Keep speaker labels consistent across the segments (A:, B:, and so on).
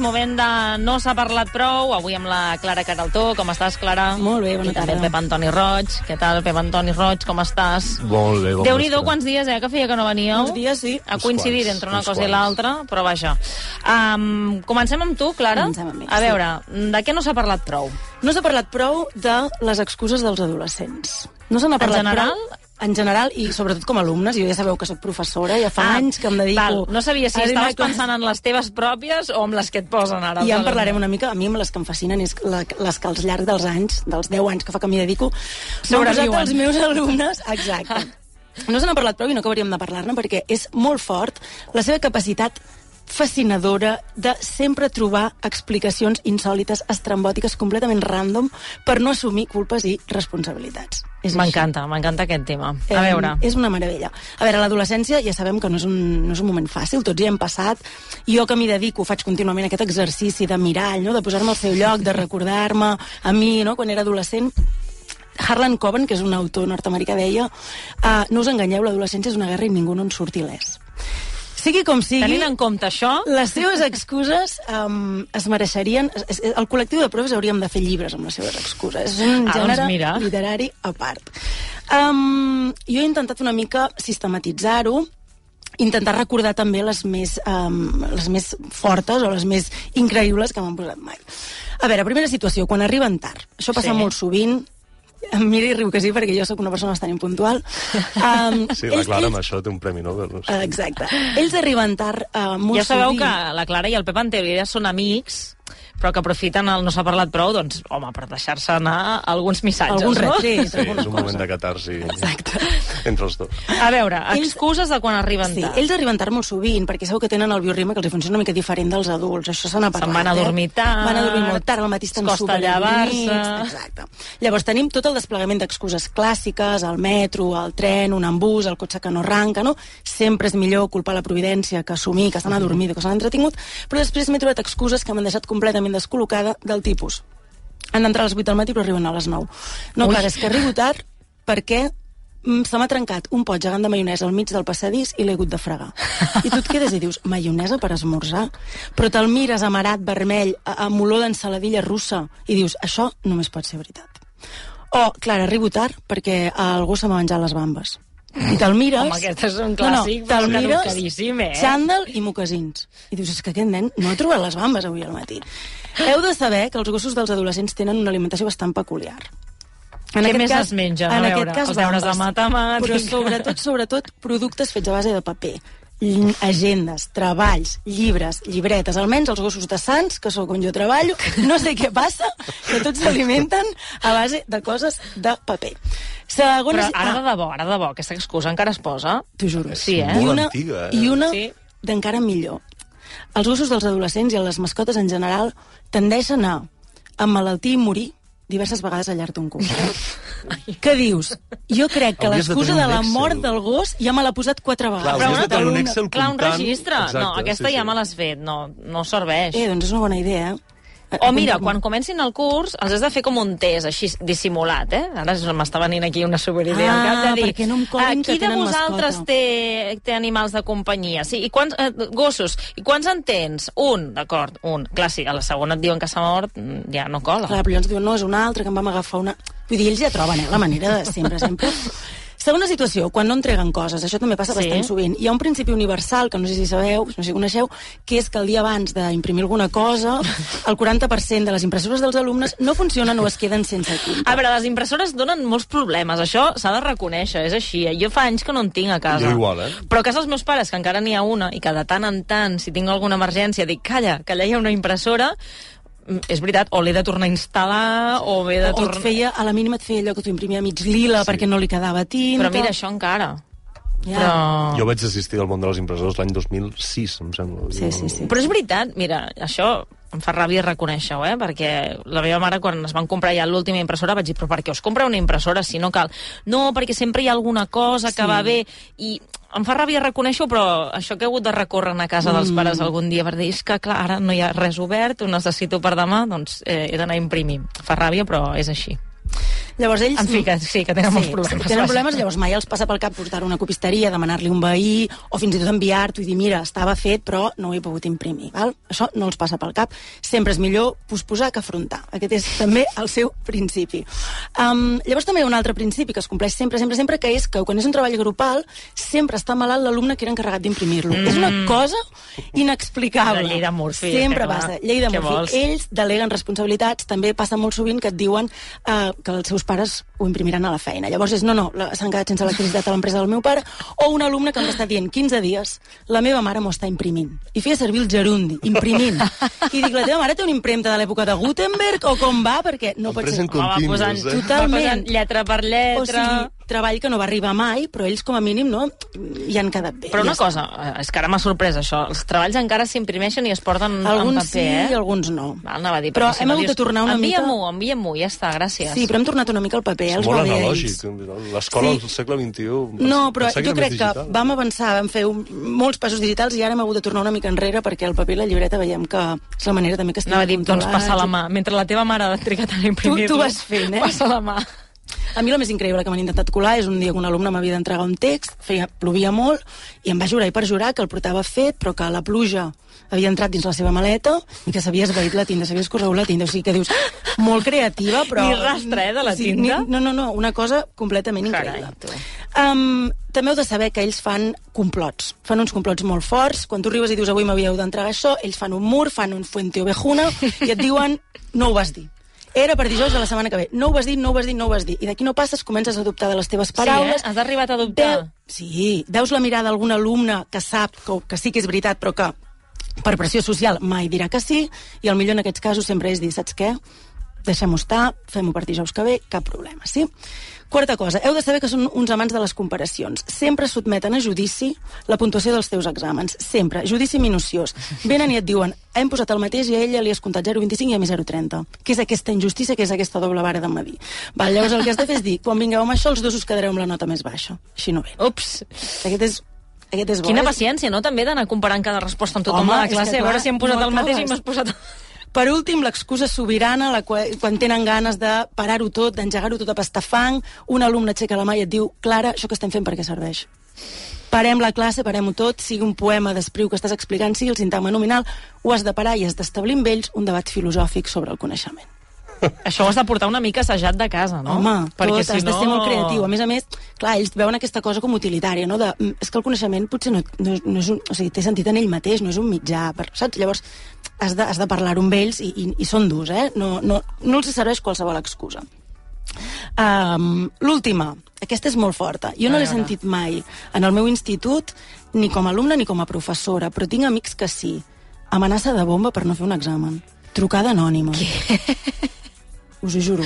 A: moment de No s'ha parlat prou, avui amb la Clara Caraltó. Com estàs, Clara?
B: Molt bé, bona
A: I també el
B: tarda.
A: Pep Antoni Roig. Què tal, Pep Antoni Roig, com estàs?
C: Molt bé, bon
A: Déu-n'hi-do
C: vespre.
A: quants dies, eh, que feia que no veníeu.
B: Molts dies, sí.
A: Ha
C: Uns
A: coincidit
C: quants,
A: entre una
C: uns
A: cosa i
C: quants.
A: l'altra, però vaja. Um, comencem amb tu, Clara.
B: Comencem amb mi,
A: A
B: sí.
A: veure, de què no s'ha parlat prou?
B: No s'ha parlat prou de les excuses dels adolescents. No se n'ha
A: En
B: parlat
A: general?
B: prou en general i sobretot com a alumnes, jo ja sabeu que sóc professora, ja fa anys que em dedico...
A: Ah, Val, no sabia si
B: a donar
A: estaves pensant en les teves pròpies o en les que et posen ara. els
B: I ja en
A: alumnes.
B: parlarem una mica. A mi amb les que em fascinen és la, les que al llarg dels anys, dels 10 anys que fa que m'hi dedico, m'han
A: Sobreviuen.
B: posat els meus alumnes... Exacte. No se n'ha parlat prou i no acabaríem de parlar-ne perquè és molt fort la seva capacitat fascinadora de sempre trobar explicacions insòlites, estrambòtiques, completament random, per no assumir culpes i responsabilitats. És així.
A: M'encanta, m'encanta aquest tema.
B: Eh,
A: A veure...
B: És una meravella. A veure, l'adolescència ja sabem que no és, un, no és un moment fàcil, tots hi hem passat. Jo que m'hi dedico, faig contínuament aquest exercici de mirall, no? de posar-me al seu lloc, de recordar-me a mi no? quan era adolescent. Harlan Coben, que és un autor nord-americà, deia uh, no us enganyeu, l'adolescència és una guerra i ningú no en surt il·lès. Sigui com sigui...
A: Tenint en compte això...
B: Les seves excuses um, es mereixerien... es- es- El col·lectiu de proves hauríem de fer llibres amb les seves excuses. És un
A: Ah, doncs
B: gènere
A: mira.
B: literari a part. Um, jo he intentat una mica sistematitzar-ho, intentar recordar també les més, um, les més fortes o les més increïbles que m'han posat mai. A veure, primera situació, quan arriben tard. Això passa
A: Sí.
B: sí. molt sovint, em mira i riu que sí, perquè jo sóc una persona bastant impuntual. Um,
C: Sí, la Clara amb això té un premi Nobel. No
B: Eh,
C: sé.
B: Exacte. Ells arriben tard uh, molt
A: Ja sabeu
B: sovint.
A: que la Clara i el Pep en teoria són amics, però que aprofiten el no s'ha parlat prou, doncs, home, per deixar-se anar alguns missatges,
B: Algun
A: no?
B: retret,
C: Sí, és un moment de catarsi
B: Exacte.
C: entre els dos.
A: A veure,
B: Ells-
A: excuses de quan arriben
B: Sí,
A: tard.
B: ells arriben tard molt sovint, perquè sabeu que tenen el biorritme que els hi funciona una mica diferent dels adults, això se n'ha parlat. eh?
A: van a dormir tard,
B: Van a dormir molt tard, al matí estan
A: costa
B: superdormits,
A: llevar-se.
B: Exacte. Llavors tenim tot el desplegament d'excuses clàssiques, el metro, el tren, un embús, el cotxe que no arranca, no? Sempre és millor culpar la providència que assumir que s'han adormit o que s'han entretingut, però després m'he trobat excuses que m'han deixat completament descol·locada del tipus. Han d'entrar a les 8 del matí però arriben a les 9. No,
A: Ui.
B: Ui. clar, és que arribo tard perquè mm, se m'ha trencat un pot gegant de maionesa al mig del passadís i l'he hagut de fregar. I tu et quedes i dius, maionesa per esmorzar? Però te'l mires amarat, vermell, a- amb olor d'ensaladilla russa, i dius, això només pot ser veritat. O, clar, arribo tard perquè algú se m'ha menjat les bambes. I te'l mires...
A: Home, aquest és un clàssic, però
B: te'l mires,
A: caducadíssim, eh?
B: xandall i mocasins. I dius, és que aquest nen no ha trobat les bambes avui al matí. Heu de saber que els gossos dels adolescents tenen una alimentació bastant peculiar.
A: Què més es mengen? A
B: en
A: veure,
B: aquest cas,
A: els deures de
B: bambes.
A: matemàtica.
B: Però sobretot, sobretot, productes fets a base de paper. Lli- agendes, treballs, llibres, llibretes, almenys els gossos de Sants, que sóc on jo treballo, no sé què passa, que tots s'alimenten a base de coses de paper.
A: Però
B: Segons... Ah.
A: ara de debò, ara de debò, aquesta excusa encara es posa?
B: T'ho juro.
A: Sí, eh?
C: Molt
B: I una,
C: antiga, eh?
B: I una
A: Sí.
B: sí. d'encara millor. Els gossos dels adolescents i les mascotes en general tendeixen a emmalaltir i morir diverses vegades al llarg d'un curs. Què dius? Jo crec que
C: Hauries de
B: l'excusa
C: tenir
B: de
C: un
B: la
C: Excel.
B: mort del gos ja me l'ha posat quatre vegades.
C: hauries
A: una
C: de tenir un
A: columna.
C: Excel
A: Clar, un
C: comptant.
A: registre. no,
C: Exacte,
A: aquesta
C: sí,
A: ja
C: sí.
A: me l'has fet, no, no serveix.
B: Eh, doncs és una bona idea, eh?
A: O mira, quan comencin el curs, els has de fer com un test, així, dissimulat, eh? Ara es- m'està venint aquí una superidea al
B: Ah,
A: cap de dir...
B: perquè no em colin
A: "Ah, qui
B: que
A: de
B: tenen
A: vosaltres
B: mascota?"
A: té, té animals de companyia? Sí, i quants, eh, gossos, i quants en tens? Un, d'acord, un. Clar, sí, a la segona et diuen que s'ha mort, mm, ja no cola.
B: Clar, però llavors diuen, no, és una altra, que em vam agafar una... Vull dir, ells ja troben, eh, la manera de sempre, sempre. Segona situació, quan no entreguen coses, això també passa
A: Sí.
B: sí. bastant sovint. Hi ha un principi universal, que no sé si sabeu, no sé si coneixeu, que és que el dia abans d'imprimir alguna cosa, el 40% de les impressores dels alumnes no funcionen o es queden sense tinta.
A: A veure, les impressores donen molts problemes, això s'ha de reconèixer, és així. eh? Jo fa anys que no en tinc a casa.
C: Jo igual, eh?
A: Però a casa dels meus pares, que encara n'hi ha una, i que de tant en tant, si tinc alguna emergència, dic, calla, que allà hi ha una impressora, mm, és veritat, o l'he de tornar a instal·lar, o m'he de
B: O et
A: tornar...
B: feia, a la mínima et feia allò que t'ho imprimia mig lila sí. perquè no li quedava tinta.
A: Però mira, això encara.
B: Ja.
A: Però...
B: Ah.
C: Jo vaig assistir al món de les impressores l'any 2006, em sembla.
B: Sí, sí, sí.
A: Però és veritat, mira, això em fa ràbia reconèixer-ho, eh? perquè la meva mare, quan es van comprar ja l'última impressora, vaig dir, però per què us compra una impressora si no cal? No, perquè sempre hi ha alguna cosa que
B: Sí.
A: va bé, i em fa ràbia reconèixer-ho, però això que he hagut de recórrer a casa dels pares algun dia per dir, és que clar, ara no hi ha res obert, ho necessito per demà, doncs eh, he d'anar a imprimir. Fa ràbia, però és així.
B: Llavors ells...
A: En fi, que sí, que tenen molts problemes,
B: Tenen
A: vaja.
B: problemes, llavors mai els passa pel cap portar-ho a una copisteria, demanar-li un veí, o fins i tot enviar-t'ho i dir, mira, estava fet, però no ho he pogut imprimir. Val? Això no els passa pel cap. Sempre és millor posposar que afrontar. Aquest és també el seu principi. Um, llavors també hi ha un altre principi que es compleix sempre, sempre, sempre, que és que quan és un treball grupal sempre està malalt l'alumne que era encarregat d'imprimir-lo. Mm. És una cosa inexplicable.
A: La llei de Murphy,
B: Sempre
A: que va.
B: passa. Llei de
A: Què
B: Murphy.
A: vols?
B: Ells deleguen responsabilitats. També passa molt sovint que et diuen eh, que els seus pares ho imprimiran a la feina. Llavors és, no, no, la- s'han quedat sense electricitat a l'empresa del meu pare. O un alumne que em va estar dient 15 dies, la meva mare m'ho està imprimint. I feia servir el gerundi, imprimint. I dic, la teva mare té una impremta de l'època de Gutenberg o com va? Perquè no pot ser...
C: Empresa en Continuous,
A: posant,
C: eh?
A: va
B: Totalment.
A: posant lletra per lletra...
B: O sigui, treball que no va arribar mai, però ells com a mínim no, hi han quedat bé.
A: Però
B: Ja
A: una
B: està.
A: cosa, eh, és que ara m'ha sorprès això, els treballs encara s'imprimeixen i es porten en
B: Alguns
A: paper, eh?
B: sí, alguns no.
A: Val, anava a dir,
B: Però
A: perquè si
B: hem
A: no
B: hagut de
A: dius,
B: tornar una mica-
A: envia-m'ho, mica... Envia-m'ho, envia-m'ho, ja està, gràcies.
B: Sí, però hem tornat una mica al paper.
C: És
B: els
C: molt
B: va bé a
C: analògic.
B: ells.
C: L'escola
B: Sí.
C: del segle XXI...
B: No, però
C: pensava
B: jo
C: era
B: crec
C: més
B: que
C: digital.
B: vam avançar, vam fer un, molts passos digitals i ara hem hagut de tornar una mica enrere perquè el paper i la llibreta veiem que és la manera també que estigui
A: Anava a dir, doncs
B: controlats.
A: passa la mà. Mentre la teva mare ha trigat a imprimir-lo.
B: Tu- tu vas fent, eh?
A: Passa la mà.
B: A mi el més increïble que m'han intentat colar és un dia que un alumne m'havia d'entregar un text, feia, plovia molt, i em va jurar i per jurar que el portava fet, però que la pluja havia entrat dins la seva maleta i que s'havia esvaït la tinta, s'havia escorregut la tinta. O sigui que dius, "Ah!" molt creativa, però...
A: Ni rastre, eh, de la
B: Sí, ni-
A: tinta?
B: no, no, no, una cosa completament increïble.
A: Carai, tu.
B: Um, també heu de saber que ells fan complots. Fan uns complots molt forts. Quan tu arribes i dius avui m'havíeu d'entregar això, ells fan un mur, fan un fuente ovejuna i et diuen no ho vas dir. Era per dijous de la setmana que ve. No ho vas dir, no ho vas dir, no ho vas dir. I d'aquí no passes, comences a dubtar de les teves paraules.
A: eh? Has arribat a dubtar.
B: Sí, veus la mirada d'algun alumne que sap que, que sí que és veritat, però que per pressió social mai dirà que sí, i el millor en aquests casos sempre és dir, saps què? Deixem-ho estar, fem-ho per dijous que ve, cap problema, sí? Quarta cosa, heu de saber que són uns amants de les comparacions. Sempre sotmeten a judici la puntuació dels teus exàmens, sempre, judici minuciós. Venen i et diuen, hem posat el mateix i a ella li has comptat 0,25 i a mi 0,30. Què és aquesta injustícia, què és aquesta doble vara de medir? Val, llavors el que has de fer és dir, quan vingueu amb això, els dos us quedareu amb la nota més baixa. Així no ve.
A: Ups.
B: Aquest és, aquest és bo. eh?
A: Quina
B: És-
A: paciència, no?, també d'anar comparant cada resposta amb tothom
B: Home,
A: de la
B: és que
A: classe. A
B: clar,
A: veure si hem posat
B: no
A: el mateix i
B: acabes.
A: m'has posat...
B: Per últim, l'excusa sobirana, la qual, quan tenen ganes de parar-ho tot, d'engegar-ho tot a pastafang, un alumne aixeca la mà i et diu, Clara, això que estem fent per què serveix? Parem la classe, parem-ho tot, sigui un poema d'espriu que estàs explicant, sigui el sintagma nominal, ho has de parar i has d'establir amb ells un debat filosòfic sobre el coneixement.
A: Això ho has de portar una mica assajat de casa, no?
B: Home,
A: Perquè
B: tot,
A: si
B: has de
A: no...
B: ser molt creatiu. A més a més, clar, ells veuen aquesta cosa com utilitària, no? De, "Mm, és que el coneixement potser no, no, no és un... O sigui, té sentit en ell mateix, no és un mitjà, per, saps? Llavors, has de, has de parlar amb ells i, i, i són durs, eh? No, no, no els serveix qualsevol excusa. Um, L'última, aquesta és molt forta. Jo
A: A
B: no l'he
A: veure.
B: sentit mai en el meu institut, ni com a alumna ni com a professora, però tinc amics que sí. Amenaça de bomba per no fer un examen. Trucada anònima. Què? Us ho juro.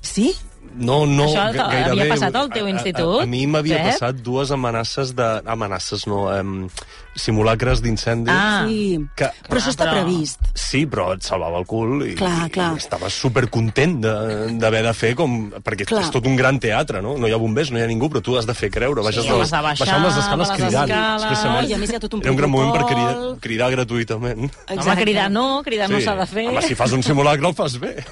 B: Sí?
C: No, no,
A: Això
C: ga-
A: t'ha- havia
C: gairebé.
A: passat al teu
C: A- a-
A: institut,
C: A, a, mi m'havia
A: Pep?
C: passat dues amenaces de... Amenaces, no, em, simulacres d'incendi.
A: Ah.
B: Sí.
C: Que-
B: Però això està
A: Clar, però-
B: previst.
C: Sí, però et salvava el cul i,
B: Clar, clar.
C: i estava supercontent de- d'haver de, fer com... Perquè
B: Clar.
C: és tot un gran teatre, no? No hi ha bombers, no hi ha ningú, però tu has de fer creure. Baixes
A: has de baixar,
C: baixant les escales
A: les
C: cridant.
A: escales.
C: expressament.
B: No, i a més hi ha tot un
C: Era un gran moment per
B: protocol.
C: cridar, cridar gratuïtament.
A: Home, cridar no, cridar no s'ha de fer.
C: Home, si fas un simulacre el fas bé.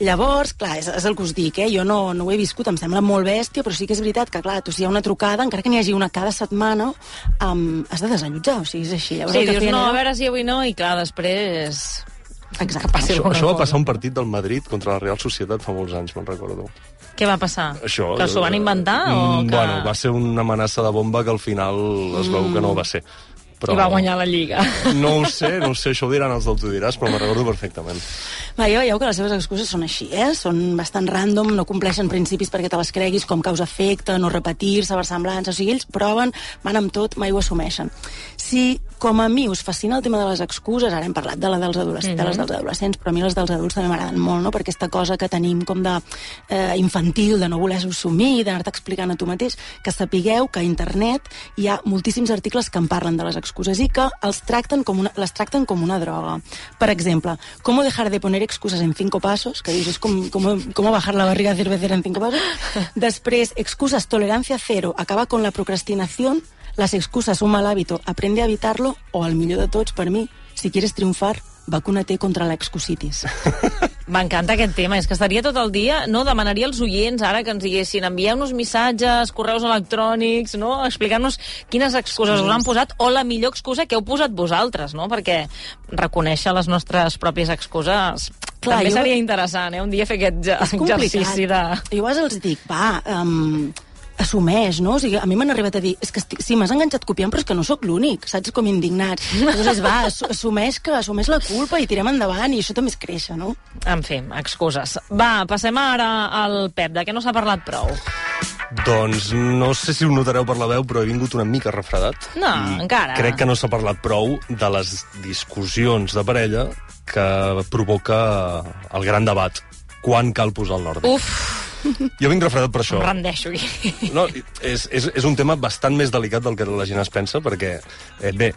B: Llavors, clar, és, és el que us dic, eh? Jo no, no ho he viscut, em sembla molt bèstia, però sí que és veritat que, clar, tu si hi ha una trucada, encara que n'hi hagi una cada setmana, um, has de desallotjar, o sigui, és així. Llavors,
A: Sí,
B: el que
A: dius,
B: feien
A: no, a
B: era-
A: veure si avui no, i clar, després...
B: Exacte.
A: Que passi
C: Això,
A: alguna
C: això va
A: cosa.
C: passar a un partit del Madrid contra la Real Societat fa molts anys, me'n recordo.
A: Què va passar?
C: Això,
A: que s'ho van inventar o
C: Mm,
A: que...
C: Bueno, va ser una amenaça de bomba que al final es veu que no va ser. Però...
A: I va guanyar la Lliga.
C: No ho sé, no ho sé, això ho diran els d'autodiràs, però me'n recordo perfectament.
B: Va, ja veieu que les seves excuses són així, eh? Són bastant random, no compleixen principis perquè te les creguis, com causa-efecte, no repetir-se, versemblança... O sigui, ells proven, van amb tot, mai ho assumeixen. Si, com a mi, us fascina el tema de les excuses, ara hem parlat de la dels adolescents, mm -hmm. de les dels adolescents, però a mi les dels adults també m'agraden molt, no? Per aquesta cosa que tenim com de eh, infantil, de no voler assumir, d'anar-te explicant a tu mateix, que sapigueu que a internet hi ha moltíssims articles que en parlen de les excuses i que els tracten com una, les tracten com una droga. Per exemple, com dejar de poner excuses en cinco pasos, que dius, és com, com, com bajar la barriga cervecera en cinco pasos. Després, excuses, tolerancia cero, acaba con la procrastinación, las excusas, un mal hábito, aprende a evitarlo, o el millor de tots, per mi, si quieres triunfar, vacúnate contra la excusitis.
A: M'encanta aquest tema, és que estaria tot el dia, no? Demanaria als oients ara que ens diguessin envieu-nos missatges, correus electrònics, no? Explicant-nos quines excuses us han posat o la millor excusa que heu posat vosaltres, no? Perquè reconèixer les nostres pròpies excuses
B: Clar,
A: Clar, també
B: jo-
A: seria interessant, eh? Un dia fer aquest ja-
B: és complicat.
A: exercici de...
B: Jo a vegades els dic, va, um, assumeix, no? O sigui, a mi m'han arribat a dir, és que estic, sí, m'has enganxat copiant, però és que no sóc l'únic, saps? Com indignats. Llavors, va, assu- assumeix que assumeix la culpa i tirem endavant i això també és créixer, no?
A: En fi, excuses. Va, passem ara al Pep, de què no s'ha parlat prou?
C: Doncs no sé si ho notareu per la veu, però he vingut una mica refredat.
A: No, encara.
C: Mm, Crec que no s'ha parlat prou de les discussions de parella que provoca el gran debat. Quan cal posar el nòrdic?
A: Uf,
C: Jo vinc refredat per això.
A: em rendeixo aquí.
C: No, és, és, és un tema bastant més delicat del que la gent es pensa, perquè, eh, bé,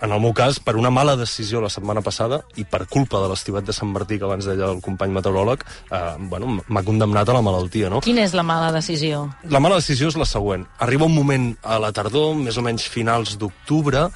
C: en el meu cas, per una mala decisió la setmana passada i per culpa de l'estivat de Sant Martí, que abans deia el company meteoròleg, eh, bueno, m'ha condemnat a la malaltia, no?
A: Quina és la mala decisió?
C: La mala decisió és la següent. Arriba un moment a la tardor, més o menys finals d'octubre,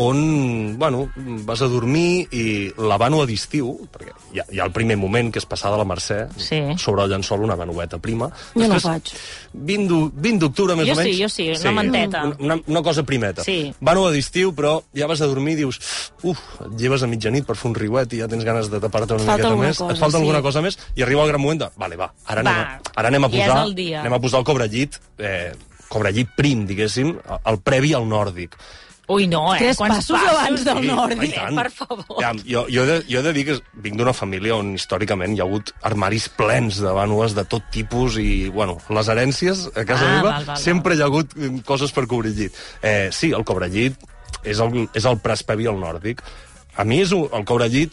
C: on, bueno, vas a dormir i l'Havano a d'estiu, perquè hi ha, hi ha el primer moment que és passar de la Mercè,
A: Sí.
C: sobre el llençol una vanoveta prima.
B: Jo no ho faig.
C: 20 d'o- 20 d'octubre, més
A: Jo
C: o menys.
A: sí, jo sí, una manteta.
C: Una, una, una cosa primeta.
A: Sí.
C: Vano a d'estiu, però ja vas a dormir i dius... Uf, et lleves a mitjanit per fer un riuet i ja tens ganes de tapar-te una
B: Falta
C: miqueta
B: alguna
C: més.
B: cosa,
C: et falta
B: sí.
C: alguna cosa més i arriba el gran moment de... Vale, va, ara,
A: Va,
C: anem, a, ara anem a
A: ja és
C: posar...
A: el dia.
C: Anem a posar el cobrellit... Eh, cobrellit prim, diguéssim, el previ al nòrdic.
A: Ui, no, eh?
B: Tres
A: Quants
B: passos abans del
A: Sí,
B: nòrdic.
A: i tant. Per favor.
C: Ja, jo, jo, he de, jo he de dir que vinc d'una família on històricament hi ha hagut armaris plens de vànues de tot tipus i, bueno, les herències a casa
A: Ah,
C: meva
A: val, val,
C: sempre hi ha hagut mm, coses per cobrir el llit. Eh, sí, el cobrellit és el, és el prespevi al nòrdic. A mi és un, el cobrellit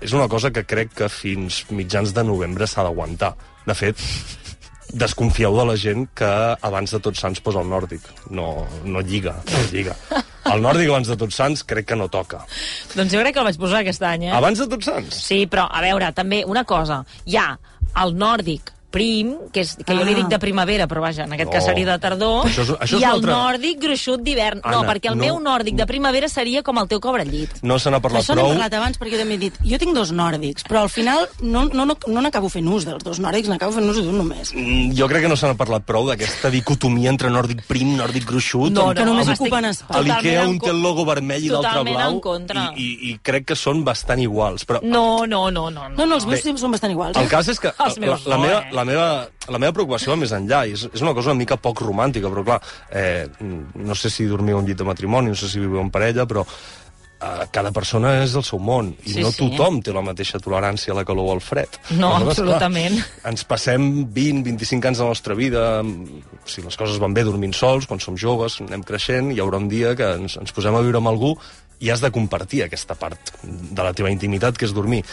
C: és una cosa que crec que fins mitjans de novembre s'ha d'aguantar. De fet, desconfieu de la gent que abans de Tots Sants posa el nòrdic. No, no lliga, no lliga. El nòrdic abans de Tots Sants crec que no toca.
A: Doncs jo crec que el vaig posar aquest any, eh?
C: Abans de Tots Sants?
A: Sí, però, a veure, també, una cosa. Hi ha el nòrdic prim, que, és, que jo li
B: Ah.
A: dic de primavera, però vaja, en aquest
C: No.
A: cas seria de tardor,
C: Això és- això és
A: i
C: una
A: el
C: altra-
A: nòrdic gruixut d'hivern. No,
C: Anna,
A: perquè el
C: no-
A: meu nòrdic de primavera seria com el teu cobrellit.
C: No se n'ha parlat
B: Això n'hem
C: prou.
B: parlat abans perquè jo també he dit, jo tinc dos nòrdics, però al final no no, no, no n'acabo fent ús dels dos nòrdics, n'acabo fent ús d'un només.
C: Mm, Jo crec que no se n'ha parlat prou d'aquesta dicotomia entre nòrdic prim, nòrdic gruixut...
A: No,
C: amb-
B: que només
C: amb-
A: estic
B: ocupen espai.
C: A
A: totalment
C: l'Ikea
A: en
C: un té el
A: con-
C: logo vermell i l'altre
A: Totalment en
C: blau
A: contra.
C: i, i, i crec que són bastant iguals, però
A: No, no, no, no.
B: No, no, els meus
C: Bé.
B: sempre són bastant iguals. eh?
C: el cas és que
A: Els
C: la,
A: meus
C: la,
A: no,
C: meva,
A: eh?
C: la, meva, la meva preocupació va més enllà i és, és una cosa una mica poc romàntica, però clar, eh, no sé si dormiu en llit de matrimoni, no sé si viviu en parella, però eh, cada persona és del seu món i
A: Sí,
C: no
A: sí.
C: tothom té la mateixa tolerància a la calor o al fred.
A: No,
C: Aleshores, clar,
A: absolutament.
C: ens passem 20, 25 anys de la nostra vida, mm, si les coses van bé dormint sols, quan som joves, anem creixent, hi haurà un dia que ens, ens posem a viure amb algú i has de compartir aquesta part de la teva intimitat, que és dormir.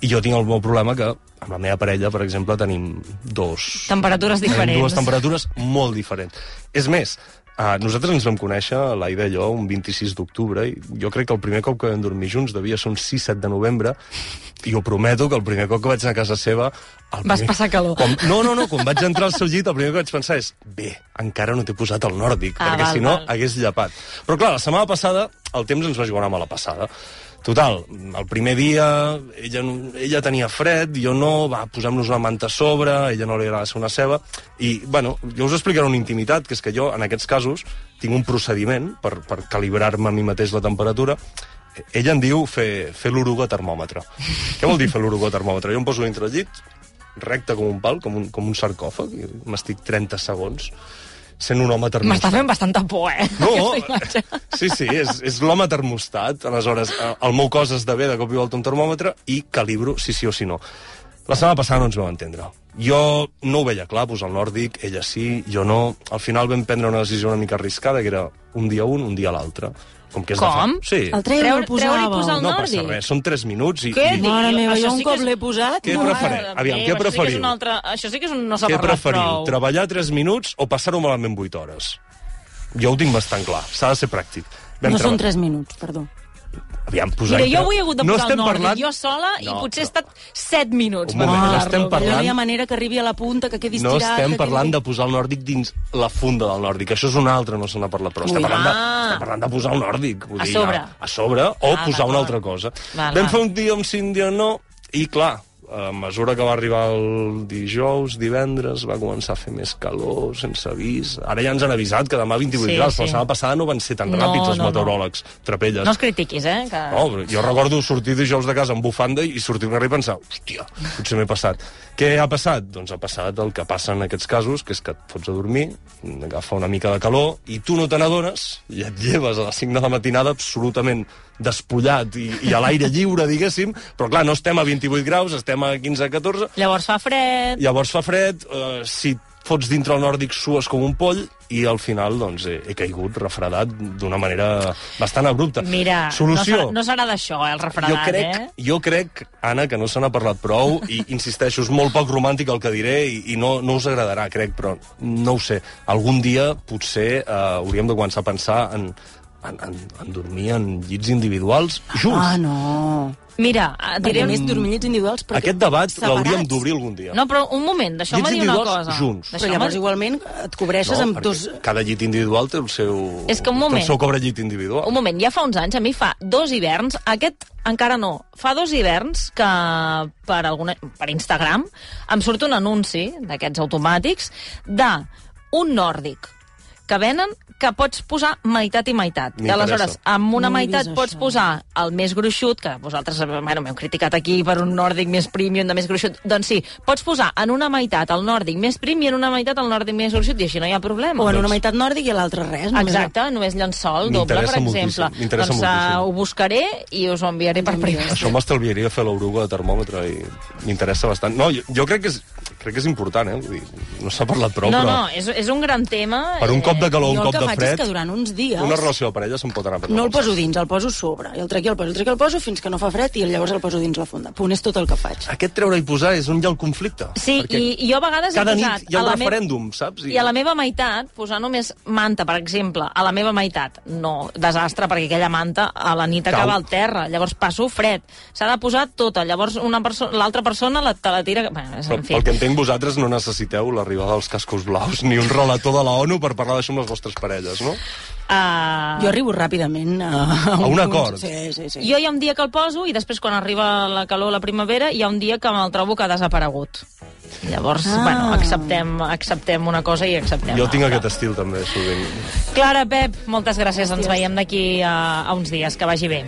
C: I jo tinc el meu problema que amb la meva parella, per exemple, tenim dos...
A: Temperatures
C: tenim
A: diferents.
C: Dues temperatures molt diferents. És més, Uh, nosaltres ens vam conèixer, l'Aida i jo, un 26 d'octubre, i jo crec que el primer cop que vam dormir junts devia ser un 6-7 de novembre, i ho prometo que el primer cop que vaig anar a casa seva... El
A: Vas
C: primer-
A: passar calor.
C: Quan, no, no, no, quan vaig entrar al seu llit, el primer que vaig pensar és bé, encara no t'he posat el nòrdic,
A: Ah,
C: perquè
A: val,
C: si no
A: val.
C: hagués llapat. Però clar, la setmana passada el temps ens va jugar una mala passada. Total, el primer dia ella, no- ella tenia fred, jo no, va, posem-nos una manta a sobre, a ella no li agrada ser una ceba, i, bueno, jo us explicaré una intimitat, que és que jo, en aquests casos, tinc un procediment per, per calibrar-me a mi mateix la temperatura, ella en diu fer, fer l'oruga termòmetre. Què vol dir fer l'oruga termòmetre? Jo em poso dintre el llit, recte com un pal, com un, com un sarcòfag, i m'estic 30 segons sent un home termòmetre.
A: M'està fent bastanta por, eh?
C: No,
A: aquesta imatge.
C: sí, sí, és, és l'home termostat. Aleshores, eh, el meu cos esdevé de cop i volta un termòmetre i calibro si sí o si no. La setmana passada no ens vam entendre. Jo no ho veia clar, posar el nòrdic, ella sí, jo no. Al final vam prendre una decisió una mica arriscada, que era un dia un, un dia l'altre. Com que és
A: Com?
C: De fer... Sí.
B: El treu
A: Treure-
B: el posava.
A: treure i posar el
C: No
A: nòrdic.
C: passa res, són 3 minuts i...
A: Què
C: i...
A: dius?
B: Mare meva,
A: Això
B: jo un
A: sí que
B: cop
A: és-
B: l'he posat...
C: Què
B: no,
C: prefere-
B: ara-
A: Déu,
C: Aviam, què
A: això sí que és
C: preferiu?
A: un altre... Això sí que és un... no s'ha
C: Què
A: parlat
C: preferiu,
A: prou.
C: treballar 3 minuts o passar-ho malament 8 hores? Jo ho tinc bastant clar, s'ha de ser pràctic. Vam
B: No són
C: treball-
B: 3 minuts, perdó.
C: Aviam, posar...
A: Mira, jo avui he hagut de
C: no
A: posar el
C: estem
A: nòrdic,
C: parlant...
A: jo sola, no, i
C: No,
A: potser he
C: no.
A: estat 7 minuts.
C: Un
A: per
C: moment,
A: parlar-lo.
C: estem
B: Allò
C: parlant-
B: no hi ha manera que arribi a la punta, que quedis
C: No
B: tirat...
C: estem
B: que
C: parlant de
B: quedi-
C: posar el nòrdic dins la funda del nòrdic. Això és un altre, no se n'ha parlat, però estem
B: Ui.
C: parlant, de,
A: Ah.
C: estem parlant de posar el nòrdic. Vull
A: A sobre.
C: A, a sobre, o
A: Ah,
C: posar una
A: d'acord.
C: altra cosa.
A: Val,
C: Vam
A: val.
C: fer un dia un sí, un dia no, i clar, a mesura que va arribar el dijous, divendres, va començar a fer més calor, sense avís. Ara ja ens han avisat que demà 28
A: Sí,
C: sí, graus,
A: sí.
C: però la setmana passada no van ser tan
A: No,
C: ràpids els
A: no, no.
C: meteoròlegs, trapelles.
A: No els critiquis, eh? Que...
C: No, Oh, però jo recordo sortir dijous de casa amb bufanda i sortir al carrer i pensar, hòstia, potser m'he passat. Què ha passat? Doncs ha passat el que passa en aquests casos, que és que et fots a dormir, agafa una mica de calor, i tu no te n'adones, i et lleves a les 5 de la matinada absolutament despullat i, i a l'aire lliure, diguéssim, però clar, no estem a 28 graus, estem a 15-14,
A: Llavors fa fred...
C: llavors fa fred, eh, si et fots dintre el nòrdic sues com un poll, i al final doncs, he, he caigut refredat d'una manera bastant abrupta.
A: Mira,
C: Solució.
A: no serà, no serà d'això, eh, el refredat,
C: jo crec,
A: eh?
C: Jo crec, Anna, que no se n'ha parlat prou, i insisteixo, és molt poc romàntic el que diré, i, i no, no us agradarà, crec, però no ho sé. Algun dia, potser, eh, hauríem de començar a pensar en, en, en, en dormir en llits individuals junts.
B: Ah, no.
A: Mira, et diré...
B: Diré més dormillets individuals... perquè
C: Aquest debat
B: separats.
C: l'hauríem d'obrir algun dia.
A: Ah, No, però un moment, deixeu-me
C: Llits
A: dir una
C: individuals
A: cosa.
C: junts.
B: Però
A: Deixeu-me-
B: llavors igualment et cobreixes
C: No,
B: amb
C: perquè
B: dos...
C: Cada llit individual té el seu...
A: És que un
C: té
A: moment.
C: El seu cobre llit individual.
A: Un moment, ja fa uns anys, a mi fa dos hiverns, aquest encara no, fa dos hiverns que per, alguna, per Instagram em surt un anunci d'aquests automàtics de un nòrdic que venen que pots posar meitat i meitat. I
C: M'interessa.
A: aleshores, amb una
B: No he
A: meitat
B: vist
A: pots
B: això.
A: posar el més gruixut, que vosaltres bueno, m'heu criticat aquí per un nòrdic més premium de més gruixut, doncs sí, pots posar en una meitat el nòrdic més prim i en una meitat el nòrdic més gruixut, i així no hi ha problema.
B: O en
C: doncs
B: una meitat nòrdic i a l'altra res. només
A: Exacte, només llençol, doble,
C: M'interessa
A: per
C: moltíssim,
A: exemple.
C: m'interessa
A: doncs eh,
C: moltíssim.
A: ho buscaré i us ho enviaré per privat.
C: Això m'estalviaria fer l'oruga de termòmetre i m'interessa bastant. No, jo, jo crec, que és, crec que és important, eh? Vull dir, no s'ha parlat prou,
A: No,
C: però
A: no, és, és un gran tema. eh,
C: per un cop de calor,
B: jo
C: un
B: el
C: cop
B: que
C: de
B: faig és
C: fred,
B: que durant uns dies...
C: una relació de parella se'n pot anar per
B: No el
C: la
B: poso dins, el poso sobre. I el trec i el poso, el trec i el poso fins que no fa fred i llavors el poso dins la funda. Punt, és tot el que faig.
C: boca. Aquest treure i posar és on hi ha el conflicte.
A: Sí,
C: perquè
A: i, i jo a vegades
C: cada
A: he posat...
C: nit hi ha
A: a
C: el
A: la me-
C: referèndum, saps?
A: I a la meva meitat, posar només manta, per exemple, a la meva meitat, no, desastre, perquè aquella manta a la nit
C: Cau.
A: acaba al terra, llavors passo fred, s'ha de posar tota, llavors una perso l'altra persona la, te la tira... Bueno, és,
C: Però,
A: en fi.
C: pel que entenc, vosaltres no necessiteu l'arribada dels cascos blaus ni un relator de la ONU per parlar d'això amb les vostres parelles, no?
A: Ah,
B: Jo arribo ràpidament a, a
C: un
B: punt.
C: acord.
B: Sí, sí, sí.
A: Jo hi ha un dia que el poso i després quan arriba la calor la primavera hi ha un dia que me'l trobo que ha desaparegut. Llavors, ah.
B: Ah.
A: bueno, acceptem, acceptem una cosa i acceptem
C: Jo tinc
A: l'altra.
C: aquest estil, també, sovint.
A: Clara, Pep, moltes gràcies. Ens veiem d'aquí a, a uns dies. Que vagi bé.